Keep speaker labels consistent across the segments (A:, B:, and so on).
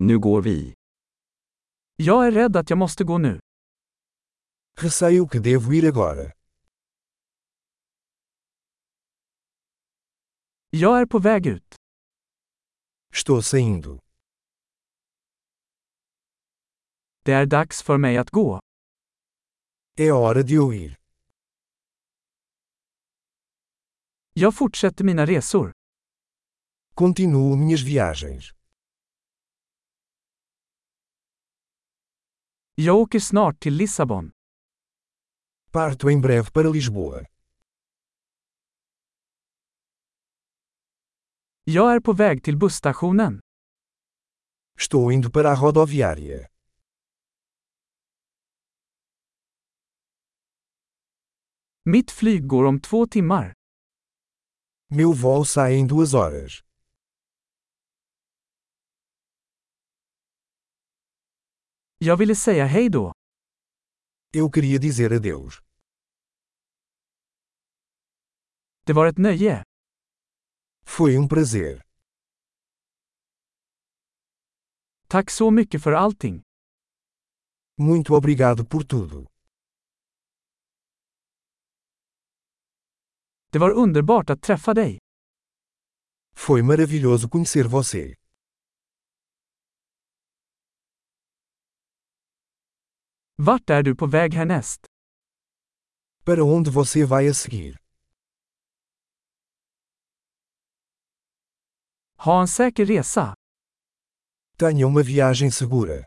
A: Nu går vi.
B: Jag är rädd att jag måste gå nu.
C: Receio que devo ir agora.
B: Jag är på väg ut.
C: Estou saindo.
B: Det är dags för mig att gå.
C: É hora de eu ir.
B: Jag fortsätter mina resor.
C: Continuo minhas viagens.
B: Jag åker snart till Lissabon.
C: Parto em breve para Lisboa.
B: Jag är på väg till busstationen.
C: Estou indo para a rodoviária.
B: Mitt flyg går om två timmar.
C: Meu voo sai em duas horas.
B: Jag ville säga hej då.
C: Eu queria dizer adeus.
B: Det var ett nöje.
C: Foi um prazer.
B: Tack så mycket för allting.
C: Muito obrigado por tudo.
B: Det var underbart att träffa dig.
C: Foi maravilhoso conhecer você.
B: Vart är du på väg härnäst?
C: Para onde você vai a seguir?
B: Ha en säker resa.
C: Tenha uma viagem segura.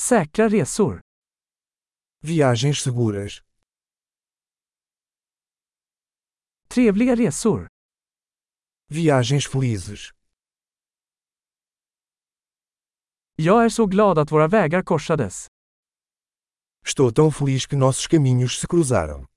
B: Säkra resor.
C: Viagens seguras.
B: Trevliga resor.
C: Viagens felizes.
B: Jag är så glad att våra vägar korsades.
C: Estou tão feliz que nossos caminhos se cruzaram.